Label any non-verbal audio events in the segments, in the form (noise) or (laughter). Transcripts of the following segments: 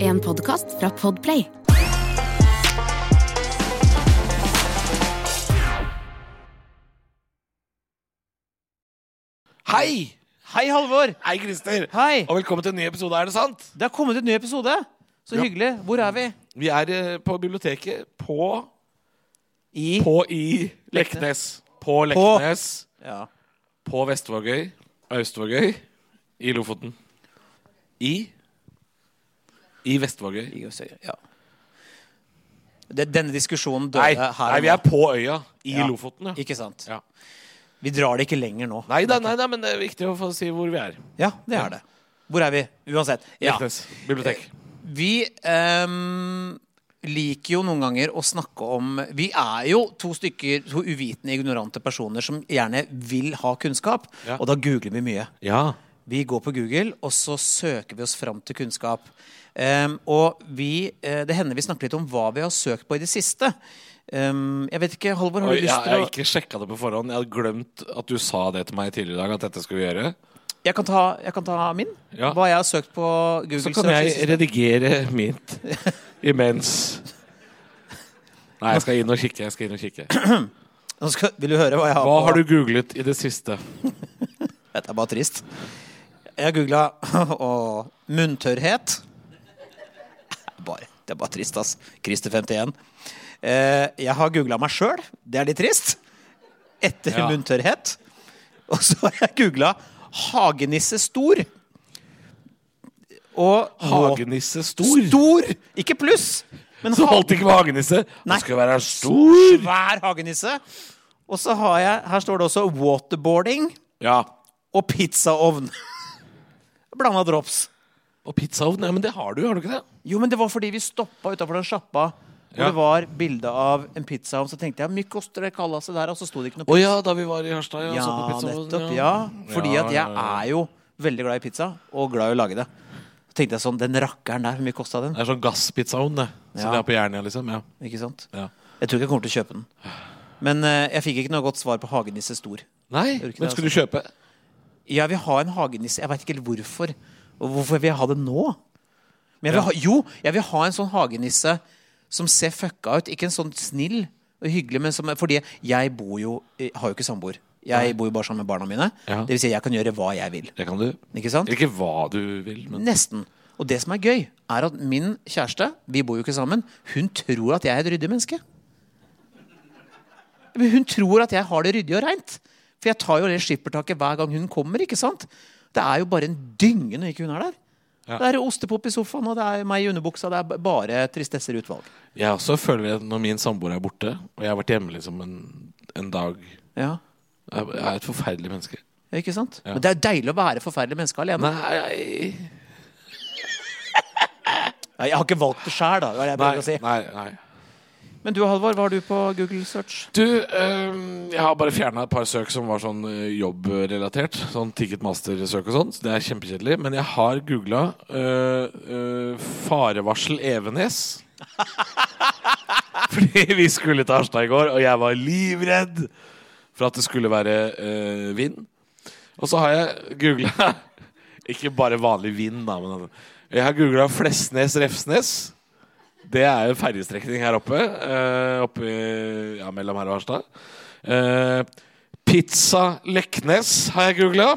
en podkast fra Podplay. Hei! Hei, Halvor! Hei, Christer. Hei. Og velkommen til en ny episode, er det sant? Det har kommet en ny episode. Så Ja. hyggelig. Hvor er vi? Vi er eh, på biblioteket på I På i Leknes. På Leknes. ja. På Vestvågøy. Austvågøy. I Lofoten. I I Vestvågøy. I Jøssøy, ja. Det, denne diskusjonen døde Nei, her. nei, og vi er nå. på øya. I Ja. Lofoten, ja. Ikke sant? Ja. Vi drar det ikke lenger nå. Nei da, nei da, men det er viktig å få si hvor vi er. Ja, det er det. Hvor er vi? Uansett. Ja. Eh, Leknes bibliotek. Vi ehm, liker jo noen ganger å snakke om Vi er jo to stykker, to uvitende, ignorante personer som gjerne vil ha kunnskap, Ja. og da googler vi mye. Ja. Vi går på Google, og så søker vi oss fram til kunnskap. Ehm, og vi, eh, det hender vi snakker litt om hva vi har søkt på i det siste. Ehm, jeg vet ikke, Halvor, har Oi, du jeg lyst til har å ikke sjekka det på forhånd. Jeg hadde glemt at du sa det til meg tidligere i dag. At dette skulle vi gjøre. jeg kan, ta, jeg kan ta min? Ja. Hva jeg har søkt på Google. Så kan search i det jeg siste. redigere mint imens. Nei, jeg skal inn og kikke. jeg skal inn og kikke. Nå skal, vil du høre hva jeg har Hva på? har du googlet i det siste? Dette er bare trist. Jeg googla (laughs) munntørrhet. Bare. Det er bare trist, ass. Christer 51. Eh, jeg har googla meg sjøl. Det er litt trist. Etter Ja. munntørrhet. Og så har jeg googla hagenisse stor. Og Hagenisse stor. Stor! Ikke pluss, men Så ha- holdt ikke med hagenisse. Nei. Han skal være stor. svær hagenisse. Og så har jeg Her står det også waterboarding Ja. og (laughs) pizzaovn. Blanda drops. Og pizzaovn. Ja, men det har du, har du ikke det? Jo, men det var fordi vi stoppa utafor den sjappa. Hvor Ja. det var bilde av en pizzaovn. Så tenkte jeg mye koster det kallaset der? Og så sto det ikke noe Å ja, da vi var i Harstad. Ja, nettopp. Ja. Fordi at jeg er jo veldig glad i pizza, og glad i å lage det. Så tenkte jeg sånn, den rakkeren der, hvor mye kosta den? Det er sånn gasspizzaovn, det. Som Ja. de har på Jernia, liksom. Ja. Ikke sant? ja. Jeg tror ikke jeg kommer til å kjøpe den. Men eh, jeg fikk ikke noe godt svar på hagenisse stor. Nei, Gjør ikke men det, altså? skulle du kjøpe? Jeg vil ha en hagenisse. Jeg veit ikke helt hvorfor. Og hvorfor vil jeg ha det nå? Men jeg vil ha, jo, jeg vil ha en sånn hagenisse som ser fucka ut. Ikke en sånn snill og hyggelig, men som Fordi jeg bor jo jeg har jo ikke samboer. Jeg bor jo bare sammen med barna mine. Ja. Det vil si, jeg kan gjøre hva jeg vil. Det kan du. Ikke sant? Ikke hva du vil, men Nesten. Og det som er gøy, er at min kjæreste, vi bor jo ikke sammen, hun tror at jeg er et ryddig menneske. Men Hun tror at jeg har det ryddig og reint. For jeg tar jo det skippertaket hver gang hun kommer. ikke sant? Det er jo bare en dynge når ikke hun er der. Ja. Det er ostepop i sofaen, og det er meg i underbuksa. Det er b- bare tristesser i utvalg. Jeg også føler at når min samboer er borte, og jeg har vært hjemme liksom en, en dag Ja, Jeg jeg er et forferdelig menneske. ikke sant? Ja. Men det er deilig å være forferdelig menneske alene. Nei Nei, Jeg har ikke valgt det sjæl, da. det var Det jeg Nei, prøvde å si. nei, nei. Men du, Halvor, hva har du på Google search? Du, øhm, jeg har bare fjerna et par søk som var sånn øh, jobbrelatert. Sånn Ticketmaster-søk og sånn. så Det er kjempekjedelig. Men jeg har googla farevarsel Evenes. (laughs) Fordi vi skulle til Harstad i går, og jeg var livredd for at det skulle være øh, vind. Og så har jeg googla (laughs) Ikke bare vanlig vind, da, men altså. jeg har googla Flesnes-Refsnes. Det er en ferjestrekning her oppe. eh, oppe i- ja, mellom her og Harstad. Eh, pizza Leknes har jeg (laughs) googla.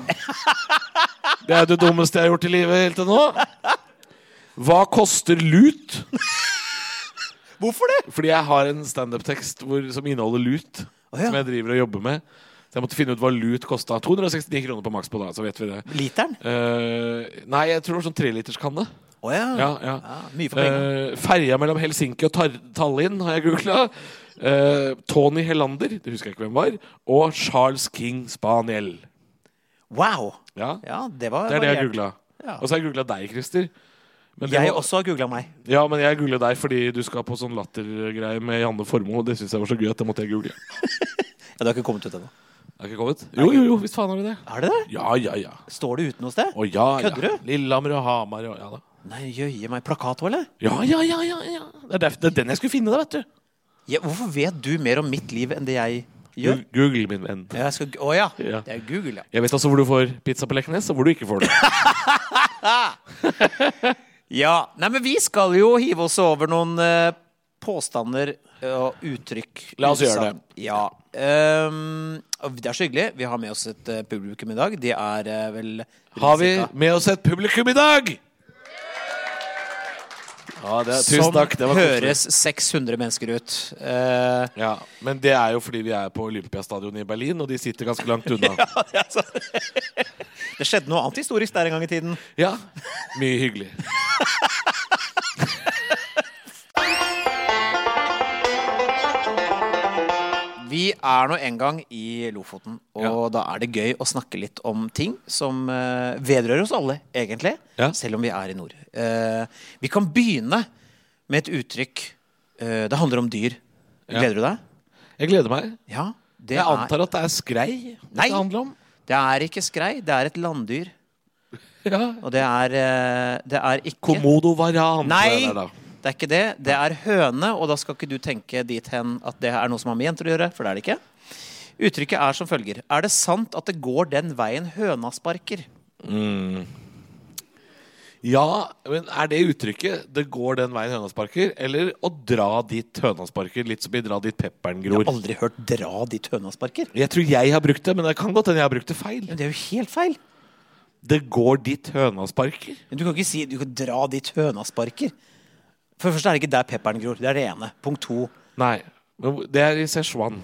Det er det dummeste jeg har gjort i livet helt til nå. Hva koster lut? Hvorfor det? Fordi jeg har en standup-tekst hvor- som inneholder lut. Å, ja. Som jeg driver og jobber med. Så jeg måtte finne ut hva lut kosta. 269 kroner på maks på da, så vet vi det. Literen? Eh, nei, jeg tror det var sånn treliterskanne. Å ja. Ja, ja. ja. Mye for penger. Eh, ferja mellom Helsinki og Tar Tallinn har jeg googla. Eh, Tony Hellander, det husker jeg ikke hvem var, og Charles King Spaniel. Eh. Wow! Ja, Ja, det var Det er det jeg variert. googla. Ja. Og så har jeg googla deg, Christer. Men det Jeg var- også har googla meg. Ja, men jeg googla deg fordi du skal på sånn lattergreie med Janne Formoe. og Det syns jeg var så gøy at det måtte jeg google. Ja, det har ikke kommet ut ennå. Er ikke kommet? Jo, jo, jo, visst faen har du det. Er det det? Ja, ja, ja. Står det ute noe sted? Å ja, ja. Kødder du? Lillehammer og Hamar og ja da. Nei, jøye meg. Plakat òg, eller? Ja, ja, ja, ja, ja. Det er, derf- det er den jeg skulle finne, da, vet du. Ja, hvorfor vet du mer om mitt liv enn det jeg gjør? Gu- Google, min venn. altså Ja, Jeg skal, å ja. Ja. Det er Google, ja. (laughs) Jeg vet også hvor du får pizza på Leknes, og hvor du ikke får det. Ja, nei, men vi skal jo hive oss over noen eh, påstander eh, og uttrykk. La oss gjøre Utsagn. Ja. ehm, og det er så hyggelig. Vi har med oss et eh, publikum i dag. De er eh, vel Har vi med oss et publikum i dag? Ja, det, tusen Som takk. Det var koselig. høres 600 mennesker ut. Eh, Ja, Men det er jo fordi vi er på Olympiastadion i Berlin, og de sitter ganske langt (laughs) unna. ja. det skjedde noe annet historisk der en gang i tiden. Mye hyggelig. Vi er nå en gang i Lofoten, og Ja. da er det gøy å snakke litt om ting som eh, vedrører oss alle, egentlig. Ja. Selv om vi er i nord. Eh, vi kan begynne med et uttrykk. eh, det handler om dyr. Ja. Gleder du deg? Jeg gleder meg. Ja. Det, Jeg er, antar at det er skrei Nei. det handler om. det er ikke skrei, det er et landdyr. Ja. Og det er, eh, det er ikke Komodo varan. Nei! tror jeg det er da. Det er ikke det. Det er høne, og da skal ikke du tenke dit hen at det er noe som har med jenter å gjøre, for det er det ikke. Uttrykket er som følger. Er det sant at det går den veien høna sparker? Ja, men er det uttrykket 'det går den veien høna sparker', eller 'å dra dit høna sparker', litt som i 'dra dit pepperen gror'? Aldri hørt 'dra dit høna sparker'. Jeg tror jeg har brukt det, men det kan godt hende jeg har brukt det feil. Men det er jo helt feil. Det går dit høna sparker. Men Du kan ikke si 'du kan dra dit høna sparker'. For det første er det ikke der pepperen gror. Det er det ene. Punkt to. Nei. men hvor- Det er i Sichuan.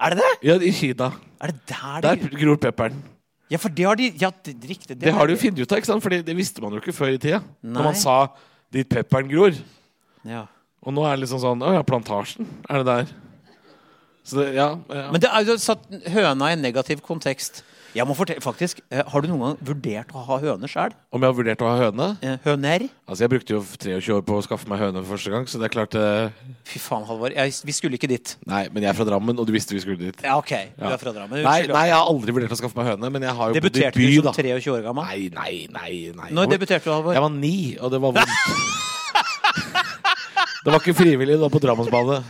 Er det det? Ja, I Kina. Er det der Der det gror pepperen. Ja, for det har de Ja, det, det, riktig. Det har du jo funnet ut av, ikke sant? Fordi det visste man jo ikke før i tida. Nei. Når man sa 'dit pepperen gror'. Ja. Og nå er det liksom sånn 'Å ja, plantasjen. Er det der?' Så det, ja, ja. Men det er jo satt høna i en negativ kontekst. Jeg må fortelle, faktisk, eh, Har du noen gang vurdert å ha høne sjøl? Om jeg har vurdert å ha høne? Høner? Altså, jeg brukte jo 23 år på å skaffe meg høne for første gang, så det er klart eh, Fy faen, Halvor. Jeg, vi skulle ikke dit. Nei, men jeg er fra Drammen, og du visste vi skulle dit. Ja, OK. Du Ja. er fra Drammen. Nei, Unnskyld. nei, jeg har aldri vurdert å skaffe meg høne, men jeg har jo Debuterte bodd i by, du som da. 23 år gammel? Nei, nei, nei, nei. Når debuterte du, Halvor? Jeg var ni, og det var (laughs) vondt. det var ikke frivillig, det var på Drammensbadet.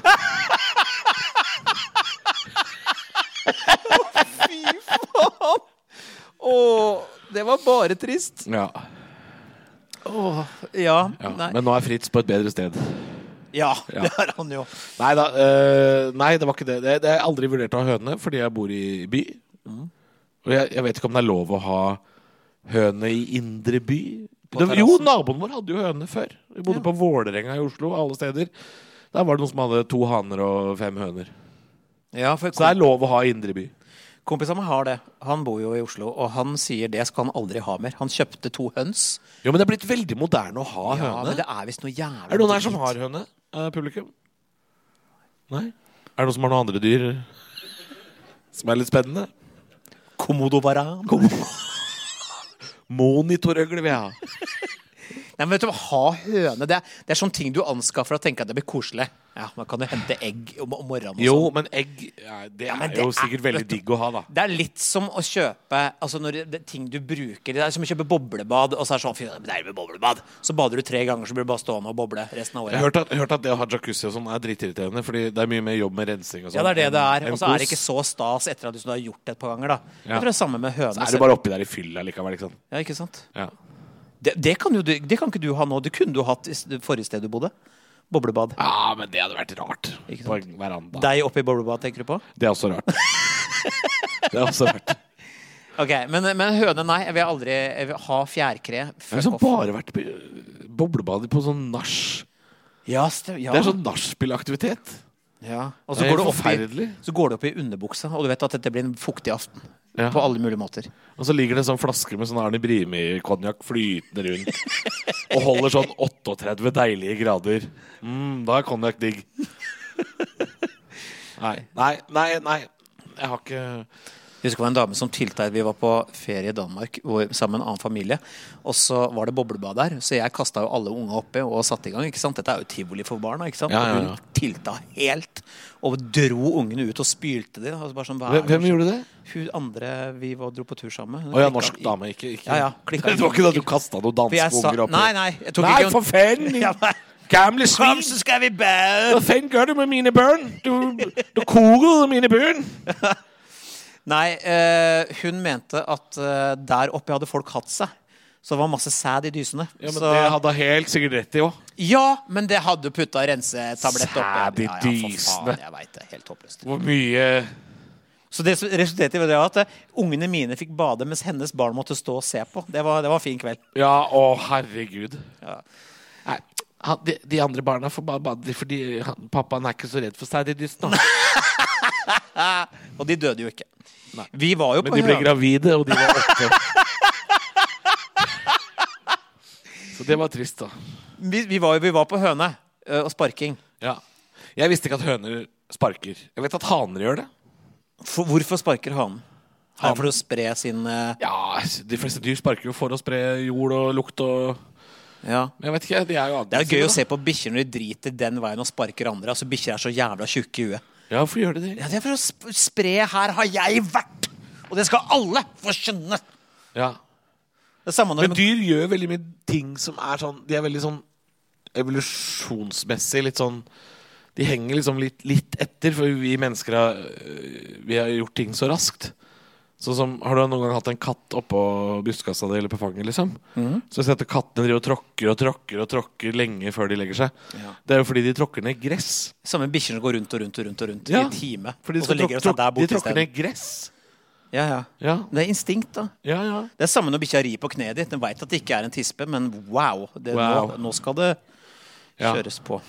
Fy faen! Åh, det var bare trist. Ja. Åh, ja, Ja. nei. Men nå er Fritz på et bedre sted. ja, Ja. det er han jo. Nei da. eh, nei, det var ikke det. Det det har jeg aldri vurdert å ha høne, fordi jeg bor i by. Mm. Og jeg, jeg vet ikke om det er lov å ha høne i indre by. På Det, jo, terrassen. naboen vår hadde jo høne før. Vi bodde på Vålerenga i Oslo, alle steder. Der var det noen som hadde to haner og fem høner. Ja, for Så det er lov å ha i indre by. Kompisen min har det. Han bor jo i Oslo, og han sier det skal han aldri ha mer. Han kjøpte to høns. Jo, men det er blitt veldig moderne å ha Ja, høne. men det er visst noe jævlig Er det noen her som drit. har høne? eh, publikum? Nei? Er det noen som har noen andre dyr som er litt spennende? Komodo varan? Monitorøgle vil jeg ha. Nei, men vet du hva, ha høne. Det er, det er sånn ting du anskaffer og tenker at det blir koselig. Ja, man kan jo hente egg om, om morgenen og Jo, sånn. men egg ja, Det er men det jo er- sikkert veldig vet du- digg å ha, da. Det er litt som å kjøpe altså når det, det, ting du bruker. Det er som å kjøpe boblebad, og så er det sånn Fy, det er jo boblebad. Så bader du tre ganger, så blir du bare stående og boble resten av Jeg har året. hørt at, hørt at det å ha jacuzzi og sånn er dritirriterende, fordi det er mye mer jobb med rensing og sånn. Ja, det er det det er. enn- Og enn så er det kos. ikke så stas etter at du sånn har gjort det et par ganger, da. Jeg Ja. tror det er samme med høne. Er du bare oppi der i fylla likevel, ikke sant? altså- Ja, ikke sant? Ja. Det, det, kan jo, du- det kan ikke du ha nå. Det kunne du hatt i s- det forrige sted du bodde. Boblebad. ja, Ah, men det hadde vært rart. Ikke På en veranda. Deg oppe i boblebad, tenker du på? Det er også (laughs) rart. det er også rart. Ok, Men, men høne, nei. Jeg vil aldri jeg vil ha fjærkre. Fuck Jeg har liksom off. bare vært på boblebader på sånn nach. Ja, stem, ja. Det er sånn nachspielaktivitet. Ja. Og så Det går, er du opp i, forferdelig. så går du opp i underbuksa, og du vet at dette blir en fuktig aften. Ja. På alle mulige måter. Og så ligger det en sånn flaske med sånn Arne Brimi-konjakk flytende rundt og holder sånn 38 deilige grader. Mm, da er konjakk digg. Nei, nei, nei. nei. Jeg har ikke Jeg husker det var en dame som tilta at vi var på ferie i Danmark hvor, sammen med en annen familie. Og så var det boblebad der, så jeg kasta jo alle unga oppi og satte i gang. ikke sant? Dette er jo tivoli for barna. ikke sant? Ja, ja, Og ja. hun tilta helt og dro ungene ut og spylte dem. Og så bare sånn, hva er Hvem, det hvem som- gjorde det? Hun andre vi var, dro på tur sammen med. Å ja, norsk dame. Ikke, ikke. Ja, ja, klikka (laughs) Det var ikke da du kasta noen For jeg danske sa unger oppi? Nei, nei. Jeg tok Nei, ikke for (laughs) faen! Ja, nei. Gamle svin! Kom, så skal vi bade! Hva faen gjør du med mine børn? Du, du korede mine børn! Nei, eh, hun mente at eh, der oppe hadde folk hatt seg. Så det var masse sæd i dysene. Ja, men så, Det hadde han helt sikkert rett i òg. ja, men det hadde putta rensetablett oppi. Sæd i Ja, ja, for dysene. faen, Jeg vet det. Helt håpløst. Hvor mye Så det som resulterte i det var at eh, ungene mine fikk bade mens hennes barn måtte stå og se på. Det var, det var fin kveld. Ja, å herregud. Ja. Nei, han, de, de andre barna får bare bade fordi han, pappaen er ikke så redd for sæd i dysten. da. Og de døde jo ikke. Vi var jo Men på de ble hø- gravide, og de var åtte. Så det var trist, da. vi, vi, var, jo- vi var på høne ø, og sparking. Ja. Jeg visste ikke at høner sparker. Jeg vet at haner gjør det. For, hvorfor sparker hanen? Er det for å spre sin eh, ø, Ja, De fleste dyr sparker jo for å spre jord og lukt og Ja. Men jeg vet ikke, de er jo Det er jo gøy å se på bikkjer når de driter den veien og sparker andre. Altså Bikkjer er så jævla tjukke i huet. Ja, hvorfor gjør de det? Ja, det er for å sp spre 'her har jeg vært'! Og det skal alle få skjønne! Ja. Det er samme når Men dyr gjør veldig mye ting som er sånn De er veldig sånn evolusjonsmessig litt sånn De henger liksom litt, litt etter, for vi mennesker har, øh, vi har gjort ting så raskt. Sånn som, Har du noen gang hatt en katt oppå brystkassa di eller på fanget? liksom? Mhm. Så jeg ser at kattene driver og tråkker og tråkker og tråkker lenge før de legger seg. Det er jo fordi de tråkker ned gress. samme bikkjene går rundt og rundt og rundt og rundt i Ja, en time. Fordi Og de, så skal ligger de seg tråkke- der tråk- de borte tråkker isteden. ned gress. Ja, ja. Ja, Det er instinkt, da. ja, ja. Det er samme når bikkja rir på kneet ditt. Den veit at det ikke er en tispe, men wow! Det, Wow. Nå, nå skal det Ja. kjøres på.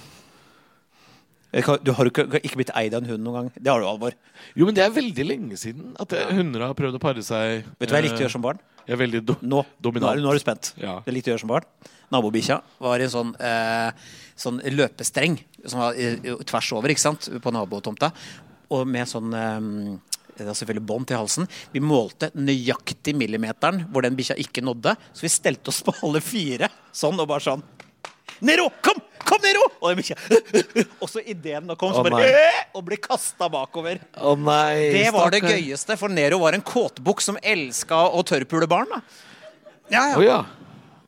Jeg kan- Du har jo ikke, ikke blitt eid av en hund noen gang. Det har du, Alvor. Jo, men det er veldig lenge siden at eh, hunder har prøvd å pare seg. Vet du hva jeg likte å gjøre som barn? Jeg er veldig do Nå, nå, dominant. er, du- nå er du spent. Ja. Det likte jeg å gjøre som barn. Nabobikkja var i en sånn, eh, sånn løpestreng som var i, i, tvers over ikke sant? på nabotomta. Og med sånn eh, det var selvfølgelig bånd til halsen. Vi målte nøyaktig millimeteren hvor den bikkja ikke nådde. Så vi stelte oss på alle fire sånn og bare sånn Nero! Kom! Kom, Nero! Og den bikkja (laughs) Og så idet den da kom, så Å, bare nei. «Eh!» (laughs) Og ble kasta bakover. Å nei, Det var det stakkar. gøyeste, for Nero var en kåtbukk som elska å tørrpule barn. da. Ja, Å ja.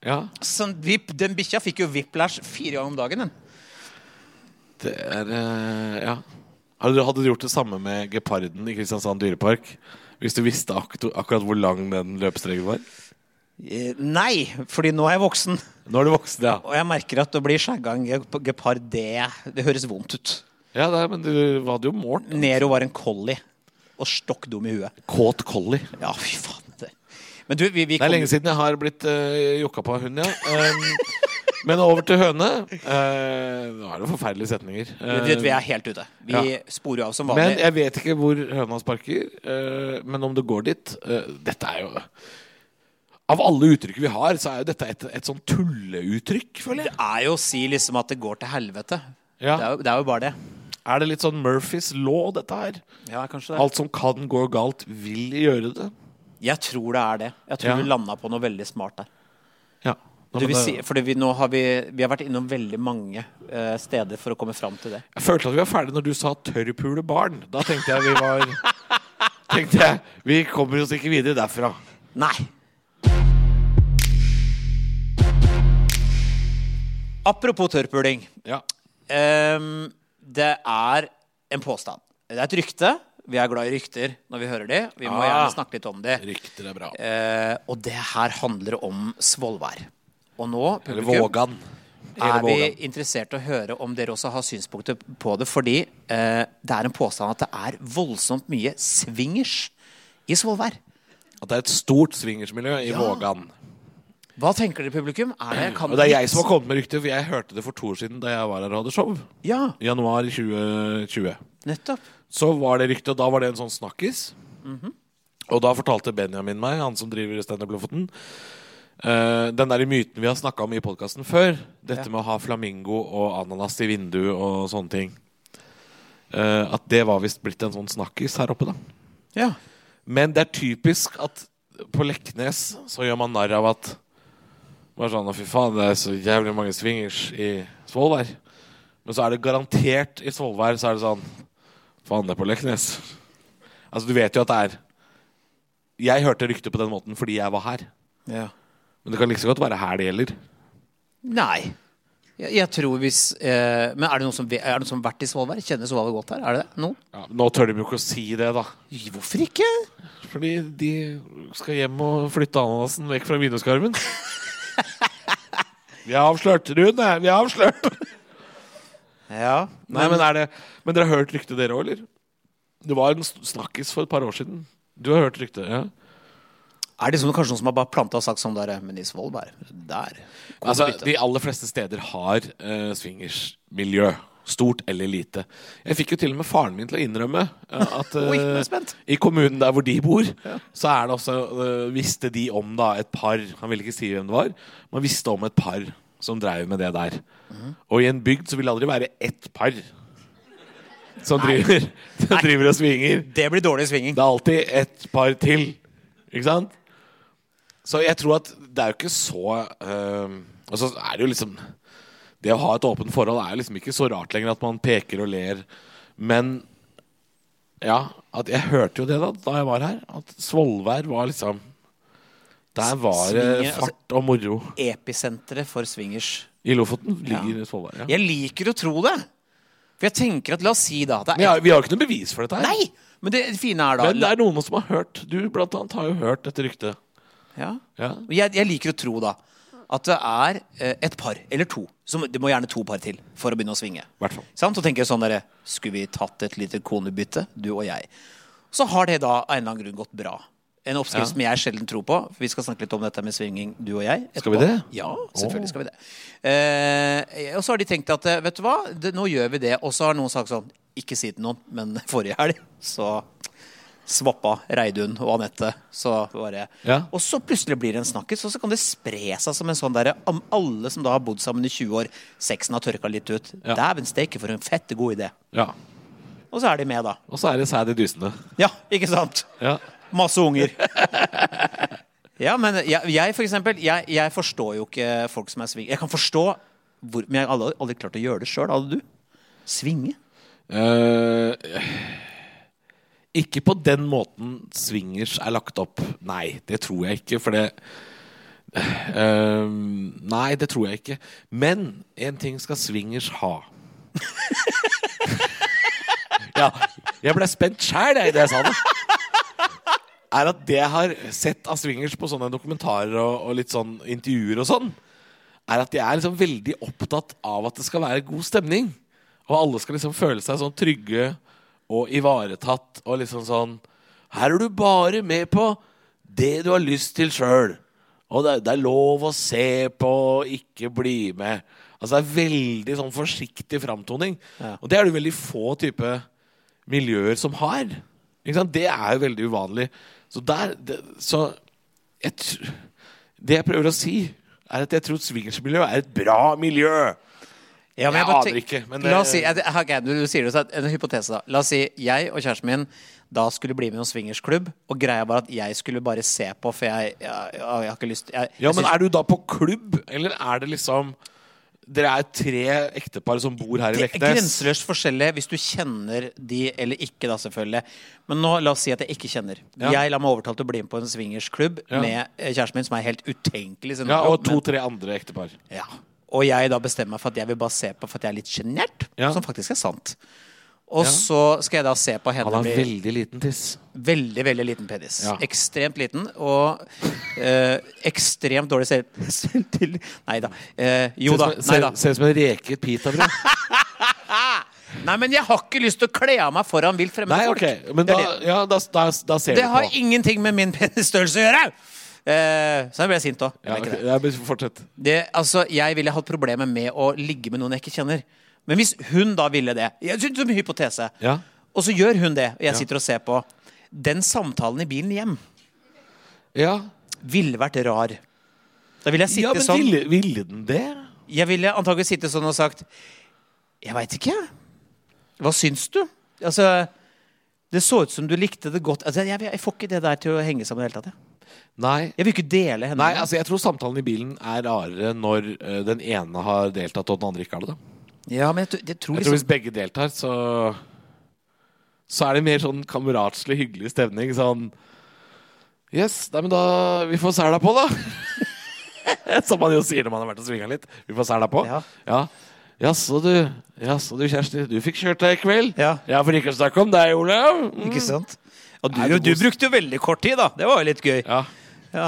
ja. Sånn, vipp, den bikkja fikk jo whiplash fire ganger om dagen. Den. Det er eh, Ja. Hadde du, hadde du gjort det samme med geparden i Kristiansand dyrepark? Hvis du visste akto- akkurat hvor lang den løpestreken var? Eh, Nei, fordi nå er jeg voksen, Nå er du voksen, ja. og jeg merker at å bli skjegga en ge- gepard, det, det høres vondt ut. Ja, det er, Men du hadde jo målt. Nero var en collie og stokk dum i huet. Kåt collie. Ja, fy faen. Det. Men du, vi, vi Det er kom- lenge siden jeg har blitt uh, jokka på av hund, ja. Um, men over til høne. Eh, nå er det forferdelige setninger. Du vet, vi er helt ute. Vi Ja. sporer av som Men vanlig. jeg vet ikke hvor høna sparker. eh, men om det går dit eh, Dette er jo Av alle uttrykk vi har, så er jo dette et, et sånn tulleuttrykk, føler Det jeg. er jo å si liksom at det går til helvete. Ja. Det, er jo, det er jo bare det. Er det litt sånn Murphys law, dette her? Ja, kanskje Alt som kan gå galt, vil gjøre det. Jeg tror det er det. Jeg tror Ja. du landa på noe veldig smart der. Ja. Nå, Du men vil det- si, fordi vi, nå har vi, vi har vært innom veldig mange eh, steder for å komme fram til det. Jeg følte at vi var ferdige når du sa 'tørrpule barn'. Da tenkte jeg vi var (laughs) Tenkte jeg, Vi kommer oss ikke videre derfra. Nei. Apropos tørrpuling. Ja. Ehm, det er en påstand. Det er et rykte. Vi er glad i rykter når vi hører de. Vi må Ah. gjerne snakke litt om de. Rykter er bra. Eh, og det her handler om Svolvær. Og nå, Eller publikum, Vågan. er Eller vi Vågan. interessert i å høre om dere også har synspunkter på det. Fordi eh, det er en påstand at det er voldsomt mye swingers i Svolvær. At det er et stort swingersmiljø i Vågan. Hva tenker dere, publikum? Er det, kan Og det er jeg som har kommet med ryktet, for jeg hørte det for to år siden da jeg var her og hadde show. Ja, I januar 2020. nettopp. Så var det ryktet, og da var det en sånn snakkis. Og da fortalte Benjamin meg, han som driver Standup Lofoten, eh, den der myten vi har snakka om i podkasten før, dette med å ha flamingo og ananas i vinduet og sånne ting, eh, at det var visst blitt en sånn snakkis her oppe, da. Ja. Men det er typisk at på Leknes så gjør man narr av at bare sånn, «Å, Fy faen, det er så jævlig mange swingers i Svolvær. Men så er det garantert i Svolvær så er det sånn Faen, det er på Leknes. Altså, du vet jo at det er Jeg hørte ryktet på den måten fordi jeg var her. Men det kan like så godt være her det gjelder. Nei. Jeg, jeg tror hvis eh, Men er det noen som, ve- er det noen som har vært i Svolvær? Kjenner Svolvær godt her? Er det det? Noen? Ja, nå tør de jo ikke å si det, da. Hvorfor ikke? Fordi de skal hjem og flytte ananasen vekk fra vinduskarmen. (laughs) Vi har avslørt, Rune! Vi har avslørt! Ja. (laughs) Nei, men, er det, men dere har hørt ryktet, dere òg, eller? Det var en sn- snakkis for et par år siden. Du har hørt ryktet? ja Er det liksom kanskje noen som har bare planta og sagt sånn der Men i Svolvær, der Kom og Altså, bytte. de aller fleste steder har uh, swingersmiljø. Stort eller lite. Jeg fikk jo til og med faren min til å innrømme eh, at (laughs) Oi, nå er jeg eh, spent. i kommunen der hvor de bor, så er det også eh, visste de om da et par Han ville ikke si hvem det var, man visste om et par som dreiv med det der. Mhm. Og i en bygd så vil det aldri være ett par som driver, (laughs) som driver og svinger. Det blir dårlig svinging. Det er alltid et par til. Ikke sant? Så jeg tror at det er jo ikke så ehm, Og så er det jo liksom Det å ha et åpent forhold er jo liksom ikke så rart lenger at man peker og ler. Men ja, at jeg hørte jo det da da jeg var her. At Svolvær var liksom Der var det Svinger, altså- fart og moro. Episenteret for swingers. I Lofoten ligger Svolvær. Ja. Jeg liker å tro det. For jeg tenker at La oss si da at Men det jeg er har- vi har jo ikke noe bevis for dette her. Nei! Men det fine er da Men det er noen som har hørt. Du blant annet har jo hørt dette ryktet. ja. Ja. Men jeg, jeg liker å tro da at det er eh, et par eller to. Som, det må gjerne to par til for å begynne å svinge. Hvert fall. Sant? Og tenker sånn derre Skulle vi tatt et lite konebytte, du og jeg? Så har det da av en eller annen grunn gått bra. En oppskrift Ja. som jeg sjelden tror på. For vi skal snakke litt om dette med svinging, du og jeg. Skal vi etterpå. det? Ja, selvfølgelig skal vi det. Eh, og så har de tenkt at eh, vet du hva, det, nå gjør vi det. Og så har noen sagt sånn Ikke si det til noen, men forrige helg så svappa Reidun og Anette. Så bare Ja. Og så plutselig blir det en snakkis, og så kan det spre seg som en sånn derre om Alle som da har bodd sammen i 20 år, sexen har tørka litt ut. Ja. Dæven steike, for en fette god idé. Ja. Og så er de med, da. Og så er det sæd i dysene. Ja, ikke sant? Ja. Masse unger. (laughs) Ja, men jeg, jeg for eksempel, jeg, jeg forstår jo ikke folk som er sving... Jeg kan forstå, hvor, men jeg har aldri, aldri klart å gjøre det sjøl. Hadde du? Svinge? Eh, ikke på den måten swingers er lagt opp. Nei, det tror jeg ikke, for det Eh, Nei, det tror jeg ikke. Men én ting skal swingers ha. (laughs) ja, jeg ble spent sjæl da jeg sa det. Er at det jeg har sett av swingers på sånne dokumentarer og, og litt sånn intervjuer og sånn, er at de er liksom veldig opptatt av at det skal være god stemning. Og alle skal liksom føle seg sånn trygge og ivaretatt og liksom sånn Her er du bare med på det du har lyst til sjøl. Og det, er- det er lov å se på og ikke bli med. Altså det er veldig sånn forsiktig framtoning. Ja. Og det er det veldig få type miljøer som har. Ikke sant? Det er jo veldig uvanlig. Så der det, Så jeg tr det jeg prøver å si, er at jeg tror swingersmiljø er et bra miljø. Ja, Jeg bare aner tenk- ikke, men La det- oss si, ja, det- ok, du, du sier det, så en hypotese, da. La oss si jeg og kjæresten min da skulle bli med i en swingersklubb, og greia var at jeg skulle bare se på, for jeg, jeg, jeg har ikke lyst jeg, Ja, jeg men syns- er du da på klubb, eller er det liksom Dere er tre ektepar som bor her i Det er Leknes. Grenseløst forskjellig hvis du kjenner de eller ikke, da selvfølgelig. Men nå la oss si at jeg ikke kjenner. Ja. Jeg la meg overtale til å bli med på en swingersklubb Ja. med eh, kjæresten min, som er helt utenkelig. siden- Ja, og men- to-tre andre ektepar. ja. Og jeg da bestemmer meg for at jeg vil bare se på for at jeg er litt sjenert, Ja. som faktisk er sant. Og så skal jeg da se på henne Han har bli- veldig liten tiss. Veldig, veldig liten penis. Ja. Ekstremt liten, og eh, ekstremt dårlig (laughs) selv- selvtillit Nei da. Eh, jo da. Nei da. Ser ut som en reke pitabrød. Nei, men jeg har ikke lyst til å kle av meg foran vilt fremmede (laughs) Nei, folk. ok. Men Det da, er det. ja, da, da, da ser Det du har på. ingenting med min (laughs) penisstørrelse å gjøre! Eh, så jeg ble sint òg. Ja, ok, ja, men Fortsett. altså, jeg ville hatt problemer med å ligge med noen jeg ikke kjenner. Men hvis hun da ville det Jeg synes det er en hypotese Ja. Og så gjør hun det, og jeg sitter og ser på. Den samtalen i bilen hjem Ja, ville vært rar. Da ville jeg sitte ja men sånn ville, ville den det? Jeg ville antakelig sitte sånn og sagt Jeg veit ikke. jeg. Hva syns du? Altså Det så ut som du likte det godt. Altså, jeg, jeg, jeg får ikke det der til å henge sammen i det hele tatt. Jeg, Nei. jeg vil ikke dele henne. Nei, altså jeg tror samtalen i bilen er rarere når eh, den ene har deltatt og den andre ikke har det. da altså, ja, men jeg, tror- jeg tror Jeg tror liksom hvis begge deltar, så Så er det mer sånn kameratslig, hyggelig stemning. Sånn Yes, nei, men da Vi får sæla på, da! (laughs) Som man jo sier når man har vært og svinga litt. Vi får sæla på. Ja. Ja. Jaså, du. Jaså, du, Kjersti. Du fikk kjørt deg i kveld? Ja. for ikke å snakke om deg, Olav. Mm. Ikke sant? Ja, liksom- du, Nei, det du bor- brukte jo veldig kort tid, da. Det var jo litt gøy. Ja. Ja.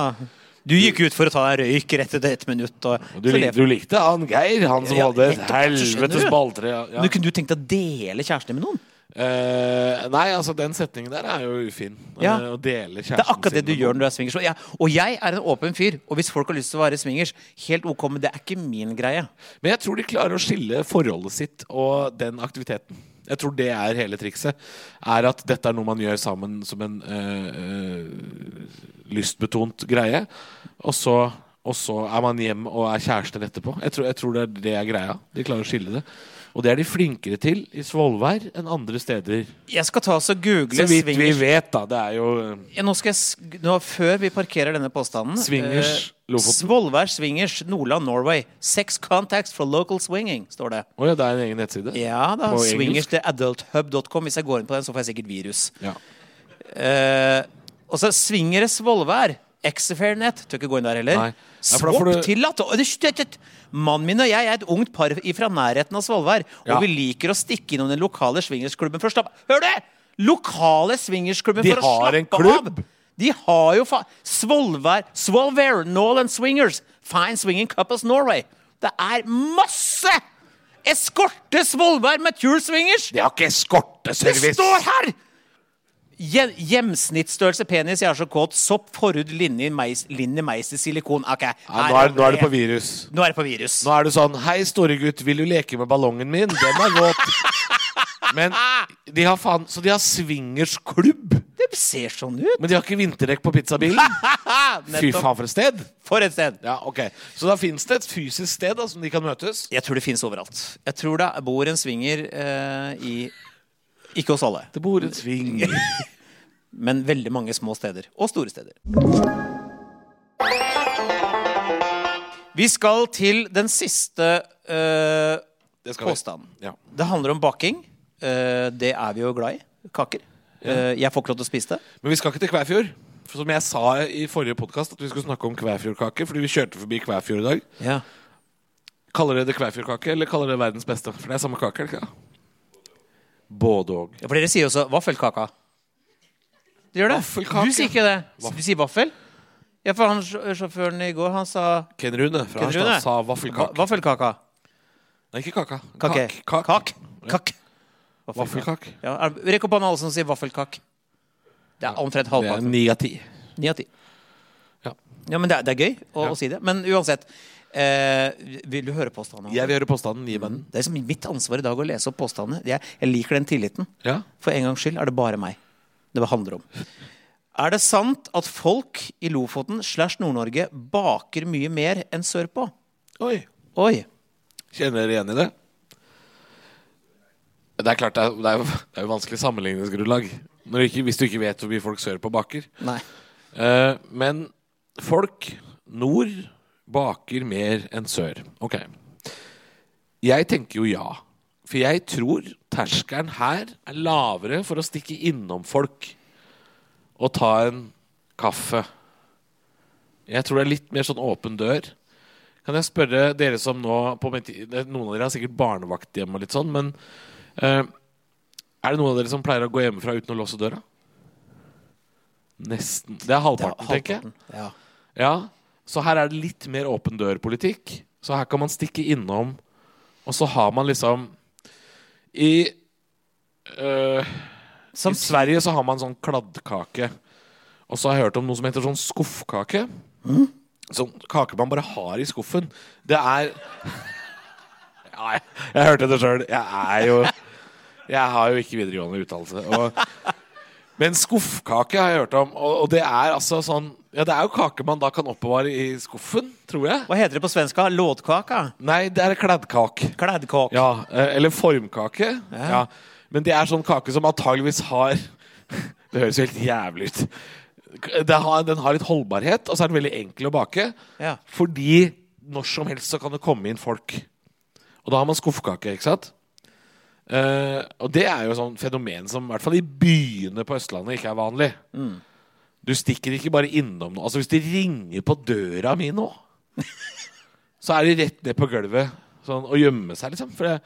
Du gikk ut for å ta deg en røyk rett etter ett minutt. Og, Du, så lik, det- du likte han Geir, han som Ja, hadde et nettopp, så skjønner helvetes du. balltre. Ja, ja. Men kunne du tenkt deg å dele kjæresten din med noen? Eh, nei, altså, den setningen der er jo ufin. Ja. Eh, å dele kjæresten sin Det er akkurat det du med gjør noen. når du er swingers. Og jeg, og jeg er en åpen fyr. Og hvis folk har lyst til å være swingers, helt ok, men det er ikke min greie. Men jeg tror de klarer å skille forholdet sitt og den aktiviteten. Jeg tror det er hele trikset. Er at dette er noe man gjør sammen som en eh, eh, lystbetont greie. Og så, og så er man hjem og er kjærester etterpå. Jeg tror, jeg tror det er det er greia. De klarer å skille det. Og det er de flinkere til i Svolvær enn andre steder. Jeg skal ta oss og Så google vidt vi swingers. vet, da. Det er jo eh, Ja, Nå skal jeg, sk- nå, før vi parkerer denne påstanden Swingers, eh, Lofoten. Svolvær Swingers, Nordland, Norway. Sex contacts for local swinging, står det. Å ja, det er en egen nettside? Ja da. På engelsk? Swingers til adulthub.com. Hvis jeg går inn på den, så får jeg sikkert virus. Ja. Eh, og så Svingere Svolvær. Exafairnet. Tør ikke gå inn der heller. Nei. Nei, for da Swap får du- tillatt. Og det- det- det- Mannen min og jeg er et ungt par fra nærheten av Svolvær. Ja. Og vi liker å stikke innom den lokale swingersklubben for å slappe Hør det! Lokale swingersklubben De for å har slappe en klubb? av! De har jo faen Svolvær, Svolvær, Norland Swingers, Fine Swinging Couples Norway. Det er masse! Eskorte Svolvær Mature Swingers! De har ikke eskorteservice! Det står her! Gje- Gjennomsnittsstørrelse penis, jeg er så kåt. Sopp, forhud, linje, meis, linje, meis i silikon. Ok. Nei, nå, er, nå er det på virus. Nå er det på virus. Nå er det sånn Hei, store gutt, vil du leke med ballongen min? Den er våt. Men de har faen Så de har swingersklubb, Det ser sånn ut. men de har ikke vinterdekk på pizzabilen? Fy Nettopp. faen, for et sted! For et sted. Ja, ok Så da fins det et fysisk sted da, som de kan møtes? Jeg tror det fins overalt. Jeg tror det bor en swinger eh, i Ikke hos alle, Det bor en sving men veldig mange små steder. Og store steder. Vi skal til den siste eh, Det skal vi. påstanden. Ja. Det handler om baking. Eh, det er vi jo glad i. Kaker. Eh, jeg får ikke lov til å spise det. Men vi skal ikke til Kvæfjord. For som jeg sa i forrige podkast, at vi skulle snakke om Kvæfjordkake. Fordi vi kjørte forbi Kvæfjord i dag. Kaller dere det Kvæfjordkake, eller kaller dere det verdens beste? For det er samme kake, er det ikke? det? Både og. Ja, For dere sier jo også vaffelkaka. Dere gjør det. Vaffelkake. Du sier ikke det. Du sier vaffel. Ja, for han sj- Sjåføren i går han sa Ken Rune fra Ken Rune. Harstad sa va- vaffelkake. vaffelkaka. Nei, ikke kaka. Kake. Kak. Kak. Kak. Vaffelkake. Ja, er- Rekk opp hånda alle som sier vaffelkak. Det er omtrent Det er halvparten. ni av ti. Ni av ti. Ja. Ja, men det er, det er gøy å, Ja. å si det. Men uansett. Eh, vil du høre påstanden? Jeg vil høre påstanden. Gi meg den. Det er liksom mitt ansvar i dag å lese opp påstandene. Jeg, jeg liker den tilliten. Ja. For en gangs skyld er det bare meg det handler om. Er det sant at folk i Lofoten slash Nord-Norge baker mye mer enn sørpå? Oi. Oi. Kjenner dere igjen i det? Det er klart, det er, det er, jo- det er jo vanskelig sammenligningsgrunnlag Når du ikke, hvis du ikke vet hvor mye folk sørpå baker. Nei. Eh, men folk nord baker mer enn sør. Ok. Jeg tenker jo ja. For jeg tror terskelen her er lavere for å stikke innom folk og ta en kaffe. Jeg tror det er litt mer sånn åpen dør. Kan jeg spørre dere som nå på min tid, det er Noen av dere har sikkert barnevakt hjemme og litt sånn, men eh, er det noen av dere som pleier å gå hjemmefra uten å låse døra? Nesten. Det er Det er halvparten, tenker jeg. halvparten. Ja. Ja, så her er det litt mer åpen dør-politikk. Så her kan man stikke innom, og så har man liksom I, øh, I Samtidig, Sverige så har man sånn kladdkake. Og så har jeg hørt om noe som heter sånn skuffkake. Sånn kake man bare har i skuffen. Det er (laughs) ja, jeg, jeg hørte det sjøl. Jeg er jo Jeg har jo ikke videregående utdannelse. Og, men skuffkake har jeg hørt om, og, og det er altså sånn Ja, det er jo kake man da kan oppbevare i skuffen, tror jeg. hva heter det på Ah, svenska? Lådkaka? Nei, det er kladdkake. Klædkåk? Ja, eh, eller formkake. Ja. Men det er sånn kake som antageligvis har (laughs) Det høres jo helt jævlig ut. Det har, den har litt holdbarhet, og så er den veldig enkel å bake. Ja. Fordi når som helst så kan det komme inn folk. Og da har man skuffkake, ikke sant? Eh, og det er jo sånn fenomen som i hvert fall i byene på Østlandet ikke er vanlig. Mm. Du stikker ikke bare innom noe. Altså Hvis de ringer på døra mi (laughs) nå, så er de rett ned på gulvet sånn, og gjemme seg, liksom. For det,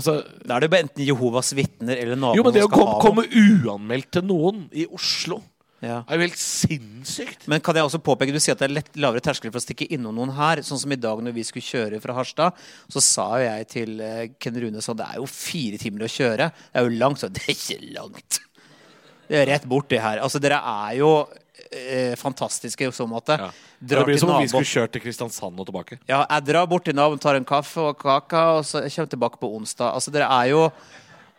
Altså, Da er det bare enten Jehovas vitner eller jo, men naboen det som å skal kom, ha komme uanmeldt til noen i Oslo det. Ja. er jo helt sinnssykt. Men kan jeg også påpeke, du sier at det er lett lavere terskel for å stikke innom noen her. Sånn som i dag når vi skulle kjøre fra Harstad, så sa jo jeg til eh, Ken Rune sånn Det er jo fire timer å kjøre. Det er jo langt. Så (laughs) det er ikke langt. Det er rett bort, det her. Altså, dere er jo eh, fantastiske i så måte. Ja. Det Drar blir til som om vi naboen. skulle kjørt til Kristiansand og tilbake. Ja, jeg drar bort til naboen, tar en kaffe og kaka, og så kommer jeg tilbake på onsdag. Altså, dere er jo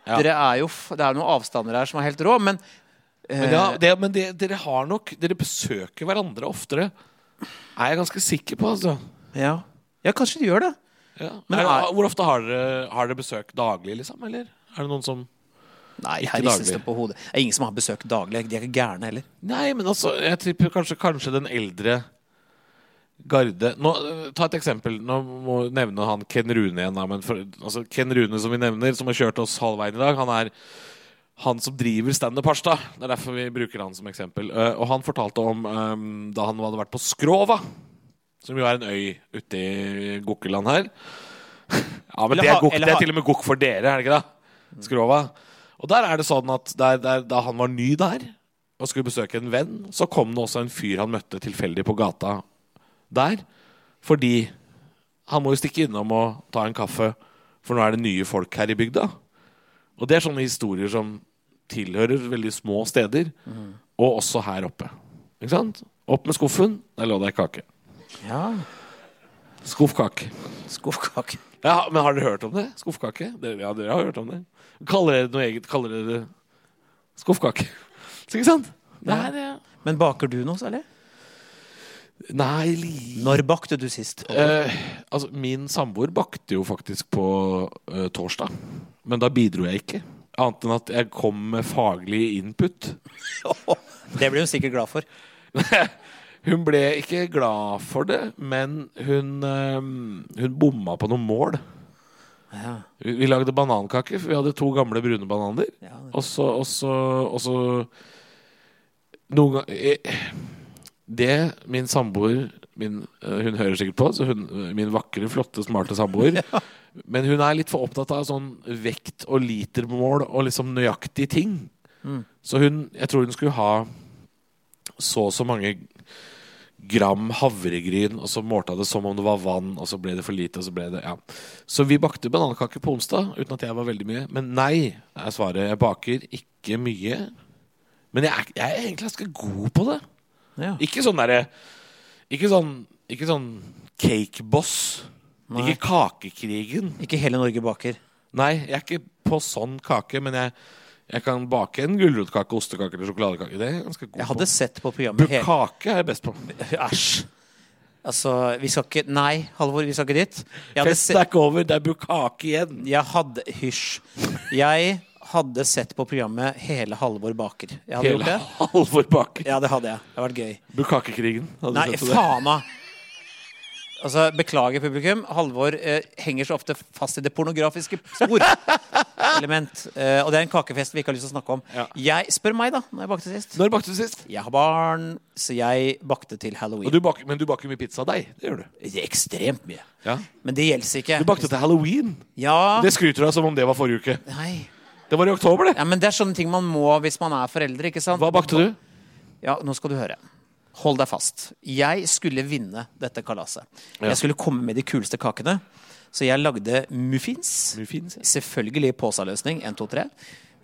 Ja. Dere er jo, f- det er noen avstander her som er helt rå, men Men, det, har- det, men det, dere har nok Dere besøker hverandre oftere. Er jeg ganske sikker på, altså. ja. ja, kanskje de gjør det. Ja. Men er, er- hvor ofte har dere, har dere besøk daglig, liksom? Eller er det noen som Nei, Ikke her ristes daglig. det på hodet. Det er ingen som har besøk daglig. De er ikke gærne heller. Nei, men altså, jeg tipper kanskje, kanskje den eldre garde Nå, eh, Ta et eksempel. Nå må jeg nevne han Ken Rune igjen. Da, men for, altså, Ken Rune, som vi nevner, som har kjørt oss halvveien i dag, han er han som driver Standup Harstad. Det er derfor vi bruker han som eksempel. Eh, og han fortalte om eh, da han hadde vært på Skrova, som jo er en øy ute i Gokkeland her. (laughs) Ja, men Eller det er, ha- gokk, eller det ha- Mm. er til og med gokk for dere, er det ikke det? Skrova. Og der er det sånn at der, der, da han var ny der og skulle besøke en venn, så kom det også en fyr han møtte tilfeldig på gata der. Fordi han må jo stikke innom og ta en kaffe, for nå er det nye folk her i bygda. Og det er sånne historier som tilhører veldig små steder, og også her oppe. Ikke sant? Opp med skuffen, der lå det ei kake. Ja, Skuffkake. Skuffkake. Ja, men har dere hørt om det? Skuffkake? Dere, ja, dere har hørt om det. Kaller dere det noe eget? Kaller dere det skuffkake? (laughs) Så ikke sant? Det er, ja. Men baker du noe særlig? Nei, li... Når bakte du sist? Eh, altså, min samboer bakte jo faktisk på eh, torsdag. Men da bidro jeg ikke. Annet enn at jeg kom med faglig input. Det blir hun sikkert glad for. Hun ble ikke glad for det, men hun, eh, hun bomma på noen mål. Ja. Vi, vi lagde banankake, for vi hadde to gamle brune bananer. Ja, det- Og så, og så, og så Noen ganger Det min samboer min, eh, Hun hører sikkert på, så hun, eh, min vakre, flotte, (laughs) smarte samboer. Men hun er litt for opptatt av sånn vekt og litermål og liksom nøyaktige ting. Mm. Så hun Jeg tror hun skulle ha så og så mange gram havregryn, og så målte jeg det som om det var vann, og så ble det for lite, og så ble det Ja. Så vi bakte banankake på onsdag, uten at jeg var veldig mye. Men nei, er svaret. Jeg baker ikke mye. Men jeg er, jeg er egentlig ganske god på det. Ja. Ikke sånn derre Ikke sånn, ikke sånn cakeboss. Nei. Ikke kakekrigen. Ikke hele Norge baker. Nei, jeg er ikke på sånn kake, men jeg, jeg kan bake en gulrotkake, ostekake eller sjokoladekake. Det er jeg ganske god Jeg hadde på. sett på programmet hele Bukake er jeg best på. Æsj. Altså, vi skal ikke Nei, Halvor, vi skal ikke dit. Jeg hadde Festen sett er ikke over, det er bukake igjen. Jeg hadde Hysj. Jeg hadde sett på programmet hele Halvor baker. Jeg hadde gjort Hele det. Halvor Baker. Ja, det hadde jeg. Det hadde vært gøy. Bukakekrigen. hadde du Nei, sett på det? faen da. Altså, Beklager, publikum. Halvor eh, henger så ofte fast i det pornografiske (laughs) spor. Element. Eh, og det er en kakefest vi ikke har lyst til å snakke om. Ja. Jeg, spør meg, da, når jeg bakte sist. Når bakte du sist? Jeg har barn, så jeg bakte til halloween. Og du baker, men du baker mye pizza av deg. Det gjør du. Det er ekstremt mye. Ja. Men det gjelder ikke. Du bakte til halloween. Ja. Det skryter du av som om det var forrige uke. Nei. Det var i oktober, det. Ja, men det er sånne ting man må hvis man er foreldre, ikke sant? Hva bakte du? Ja, nå skal du høre. Hold deg fast. Jeg skulle vinne dette kalaset. Ja. Jeg skulle komme med de kuleste kakene. Så jeg lagde muffins. Muffins, ja. Selvfølgelig posaløsning. 1, 2, 3.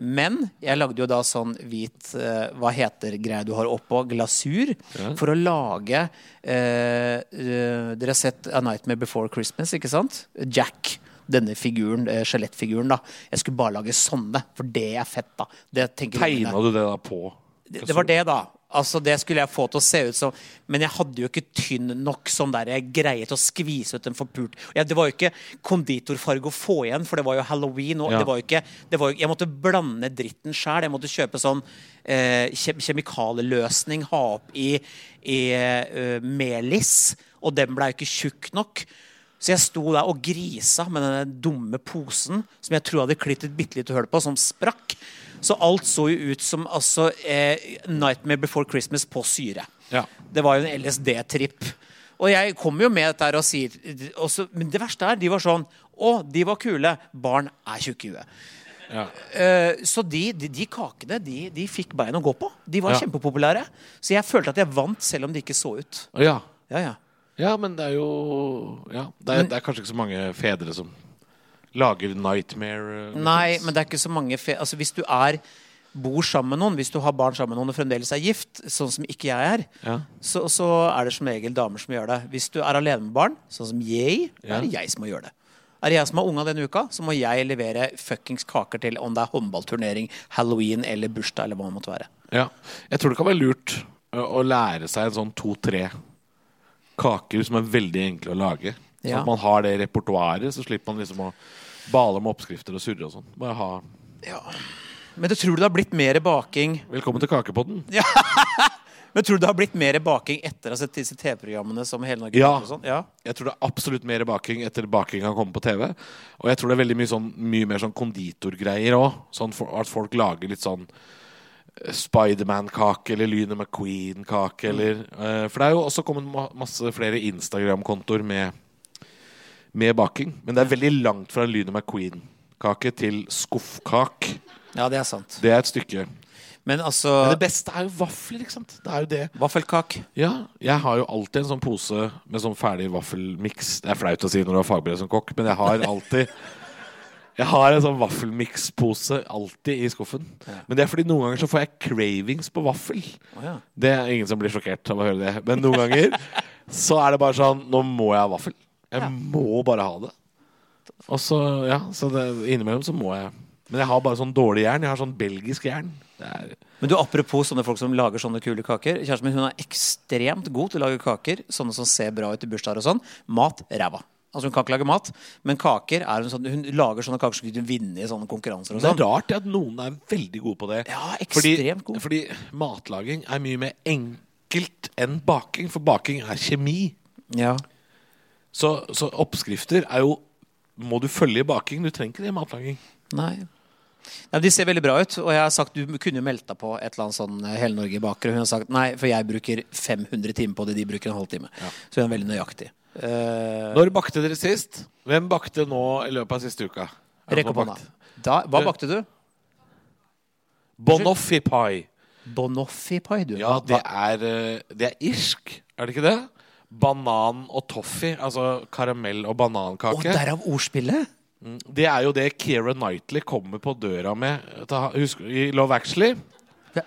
Men jeg lagde jo da sånn hvit eh, Hva heter greia du har oppå? Glasur. For å lage eh, eh, Dere har sett A Nightmare Before Christmas, ikke sant? Jack. Denne figuren, eh, skjelettfiguren, da. Jeg skulle bare lage sånne, for det er fett, da. Det tenker ungene. Tegna du det da på? Det, det var det, da. Altså, Det skulle jeg få til å se ut som. Men jeg hadde jo ikke tynn nok sånn der jeg greie til å skvise ut en forpult ja, Det var jo ikke konditorfarge å få igjen, for det var jo halloween. Og Ja. det var jo ikke, det var jo, jeg måtte blande dritten sjæl. Jeg måtte kjøpe sånn eh, kjem, kjemikaleløsning, ha opp i, i eh, melis. Og den blei jo ikke tjukk nok. Så jeg sto der og grisa med den dumme posen som jeg tror jeg hadde klitt et bitte lite hull på, som sprakk. Så alt så jo ut som altså, eh, 'Nightmare Before Christmas' på syre. Ja. Det var jo en LSD-tripp. Og jeg kommer jo med dette her og sier og så, Men det verste er, de var sånn Å, de var kule. Barn er tjukke i huet. Ja. Eh, så de, de, de kakene de, de fikk bein å gå på. De var Ja. kjempepopulære. Så jeg følte at jeg vant, selv om de ikke så ut. Å, ja. Ja, ja. ja, men det er jo ja, det, er, det er kanskje ikke så mange fedre som lager nightmare. eh, Nei, kids. men det er ikke så mange fe Altså Hvis du er bor sammen med noen, hvis du har barn sammen med noen og fremdeles er gift, sånn som ikke jeg er, Ja. så, så er det som regel damer som gjør det. Hvis du er alene med barn, sånn som jeg, Ja. er det jeg som må gjøre det. Er det jeg som har unga denne uka, så må jeg levere fuckings kaker til om det er håndballturnering, halloween eller bursdag eller hva det måtte være. Ja. Jeg tror det kan være lurt ø, å lære seg en sånn to-tre kaker som er veldig enkle å lage. Sånn Ja. at man har det repertoaret, så slipper man liksom å bale med oppskrifter og surre og sånn. Bare ha Men du tror du det har blitt mer baking Velkommen til kakepodden. Men tror du det har blitt mer baking etter å ha sett disse TV-programmene som Hele Norge Ja. og sånn? Ja. Jeg tror det er absolutt mer baking etter baking kan komme på TV. Og jeg tror det er veldig mye, sånn, mye mer sånn konditorgreier òg. Sånn for, at folk lager litt sånn eh, Spiderman-kake eller Lyne McQueen-kake eller eh, For det er jo også kommet ma- masse flere Instagram-kontoer med, med baking. Men det er veldig langt fra Lyne McQueen-kake til skuffkak. ja, det er sant. Det er et stykke. Men altså Men det beste er jo vafler, ikke sant? Det er jo det. Vaffelkake. Ja, jeg har jo alltid en sånn pose med sånn ferdig vaffelmiks. Det er flaut å si når du har fagbrev som kokk, men jeg har alltid Jeg har en sånn vaffelmikspose alltid i skuffen. Men det er fordi noen ganger så får jeg cravings på vaffel. Å ja. Det er ingen som blir sjokkert av å høre det, men noen ganger så er det bare sånn Nå må jeg ha vaffel. Jeg må bare ha det. Og så, ja, så det, innimellom så må jeg Men jeg har bare sånn dårlig jern. Jeg har sånn belgisk jern. Det er Men du, Apropos sånne folk som lager sånne kule kaker. Kjæresten min hun er ekstremt god til å lage kaker. Sånne som ser bra ut i bursdager og sånn. Mat ræva. Altså Hun kan ikke lage mat, men kaker er hun sånn Hun lager sånne kaker som kunne vinne i sånne konkurranser og Det sånn. er rart at noen er veldig gode på det. Ja, ekstremt fordi, god. Fordi matlaging er mye mer enkelt enn baking, for baking er kjemi. Ja. Så, så oppskrifter er jo Må du følge i baking? Du trenger ikke det i matlaging. Nei. Nei, men De ser veldig bra ut, og jeg har sagt du kunne jo meldt deg på et eller annet sånn eh, Hele Norge baker. Og hun har sagt nei, for jeg bruker 500 timer på det, de bruker en halvtime. Så hun er veldig nøyaktig. Eh, Når bakte dere sist? Hvem bakte nå i løpet av siste uka? Er det Rekk opp noen hånda. bakt? Da, hva bakte du? Bonoffi pie. Bonoffi pai, du. Ja, Hva- det er, eh, det er irsk, er det ikke det? Banan og toffee, altså karamell og Og banankake. derav ordspillet? Det er jo det Keira Knightley kommer på døra med ta, husk, i Love Actually. Ja.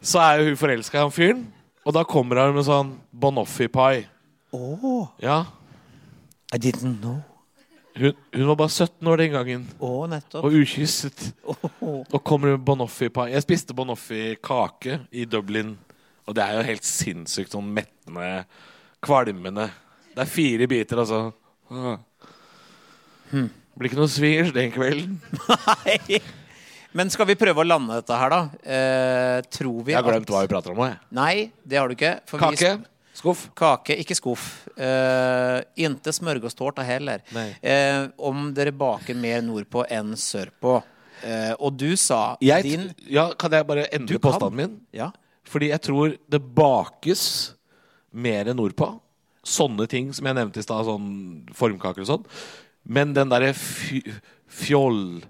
Så er jo hun forelska i han fyren, og da kommer han med sånn Bonoffi pie. Åh, Ja. I didn't know. Hun, hun var bare 17 år den gangen, Å, nettopp. og ukysset. Åh. Og kommer med Bonoffi pie. Jeg spiste Bonoffi kake i Dublin, og det er jo helt sinnssykt sånn mettende, kvalmende. Det er fire biter, altså. Ah. Blir ikke noe svingers den kvelden. Nei. (laughs) Men skal vi prøve å lande dette her, da? Eh, tror vi Jeg har glemt at- hva vi prater om nå, jeg. Nei, det har du ikke. for vi- Kake. Skuff. Kake, ikke skuff. Eh, inte smørgåstårta heller. Nei. Eh, om dere baker mer nordpå enn sørpå. Eh, og du sa Jeg, t- din ja, kan jeg bare endre kan. påstanden min? Ja. Fordi jeg tror det bakes mer nordpå. Sånne ting som jeg nevnte i stad, sånn formkaker og sånn. Men den derre fy- fjoll...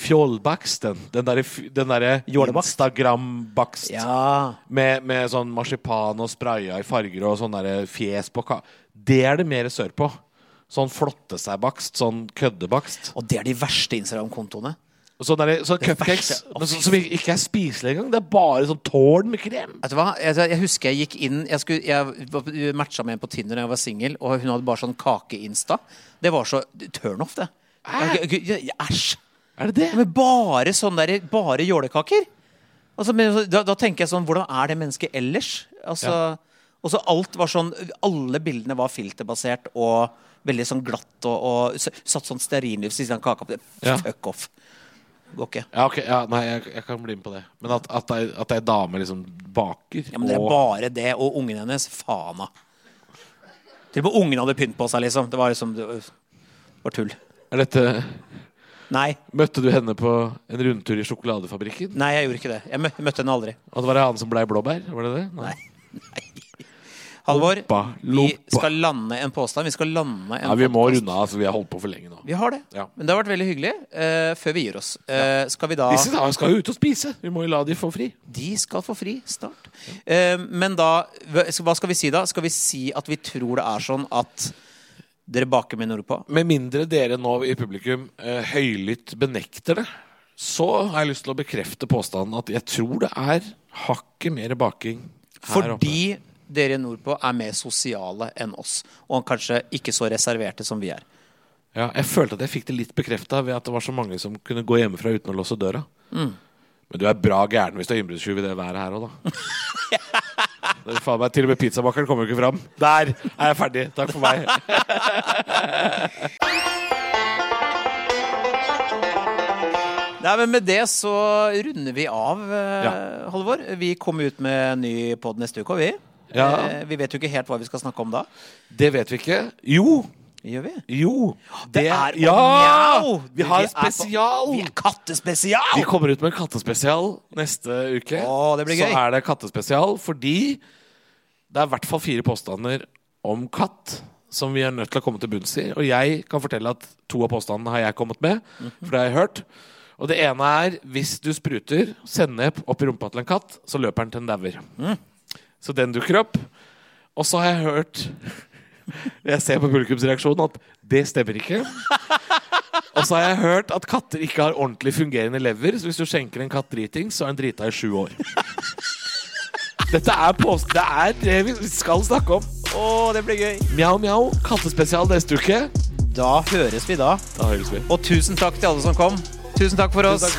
Fjollbaksten. Den derre der Jålebakst. Instagram-bakst ja. med, med sånn marsipan og spraya i farger og sånn derre fjes på ka... Det er det mer sørpå. Sånn flotte-seg-bakst. Sånn køddebakst. Og det er de verste Instagram-kontoene. Og Sånn derre- sånn cupcakes verste- men så, som ikke er spiselige engang. Det er bare sånn tårn med krem. Vet du hva? Jeg, altså, jeg husker jeg gikk inn Jeg, skulle, jeg var- matcha med en på Tinder da jeg var singel, og hun hadde bare sånn kake-insta. Det var så turnoff, det. Jeg- jeg- jeg- Æsj! Er det Ja, det? Men bare sånn der, bare jålekaker? Altså, men, så- da, da tenker jeg sånn Hvordan er det mennesket ellers? Altså, Og så alt var sånn Alle bildene var filterbasert og veldig sånn glatt og, og s- satt sånn stearinlys i den kaka. på det. Ja. Fuck off. Går ikke. Ja, ok, ja, nei, jeg, jeg kan bli med på det. Men at, at, ei, at ei dame liksom baker Ja, men det er og- bare det, og ungen hennes, faen da. Til og med ungen hadde pynt på seg, liksom. Det var liksom det var- det var tull. er dette, Nei, Møtte du henne på en rundtur i sjokoladefabrikken? nei, jeg gjorde ikke det. Jeg mø- møtte henne aldri. Og det var han som blei blåbær? Var det det? Nei. Halvor, Loppa, vi loppa. skal lande en påstand. Vi skal lande en Nei, vi må podcast. runde av, for vi har holdt på for lenge nå. Vi har det. Ja. Men det har vært veldig hyggelig. eh, før vi gir oss. Eh, skal vi da Disse da skal jo ut og spise. Vi må jo la de få fri. De skal få fri snart. Eh, men da Hva skal vi si da? Skal vi si at vi tror det er sånn at dere baker med Nordpå? Med mindre dere nå i publikum eh, høylytt benekter det, så har jeg lyst til å bekrefte påstanden at jeg tror det er hakket mer baking her oppe. Fordi dere nordpå er mer sosiale enn oss. Og kanskje ikke så reserverte som vi er. Ja, jeg følte at jeg fikk det litt bekrefta ved at det var så mange som kunne gå hjemmefra uten å låse døra. Mm. Men du er bra gæren hvis du er innbruddstyv i det været her òg, (laughs) da. Det er faen meg, Til og med pizzabakeren kommer jo ikke fram. Der er jeg ferdig. Takk for meg. Nei, men Med det så runder vi av, eh, Halvor. Vi kommer ut med en ny pod neste uke, og vi. Ja. Eh, vi vet jo ikke helt hva vi skal snakke om da. Det vet vi ikke. Jo, Gjør vi? jo. Det er Ja! Mjau! Vi har er på- spesial! Vi er kattespesial! Vi kommer ut med en kattespesial neste uke. Åh, det blir gøy. Så er det kattespesial fordi det er i hvert fall fire påstander om katt som vi er nødt til å komme til bunns i. Og jeg kan fortelle at to av påstandene har jeg kommet med, Mhm. for det har jeg hørt. Og det ene er hvis du spruter sennep opp i rumpa til en katt, så løper den til en dauer. Mm. Så den dukker opp. Og så har jeg hørt (laughs) Jeg ser på publikumsreaksjonen at det stemmer ikke. Og så har jeg hørt at katter ikke har ordentlig fungerende lever, så hvis du skjenker en katt driting, så er den drita i sju år. Dette er påst... Det er det vi skal snakke om. Å, det blir gøy! Mjau, mjau. Kattespesial neste uke. Da høres vi da. Da høres vi. Og tusen takk til alle som kom. Tusen takk for oss. takk.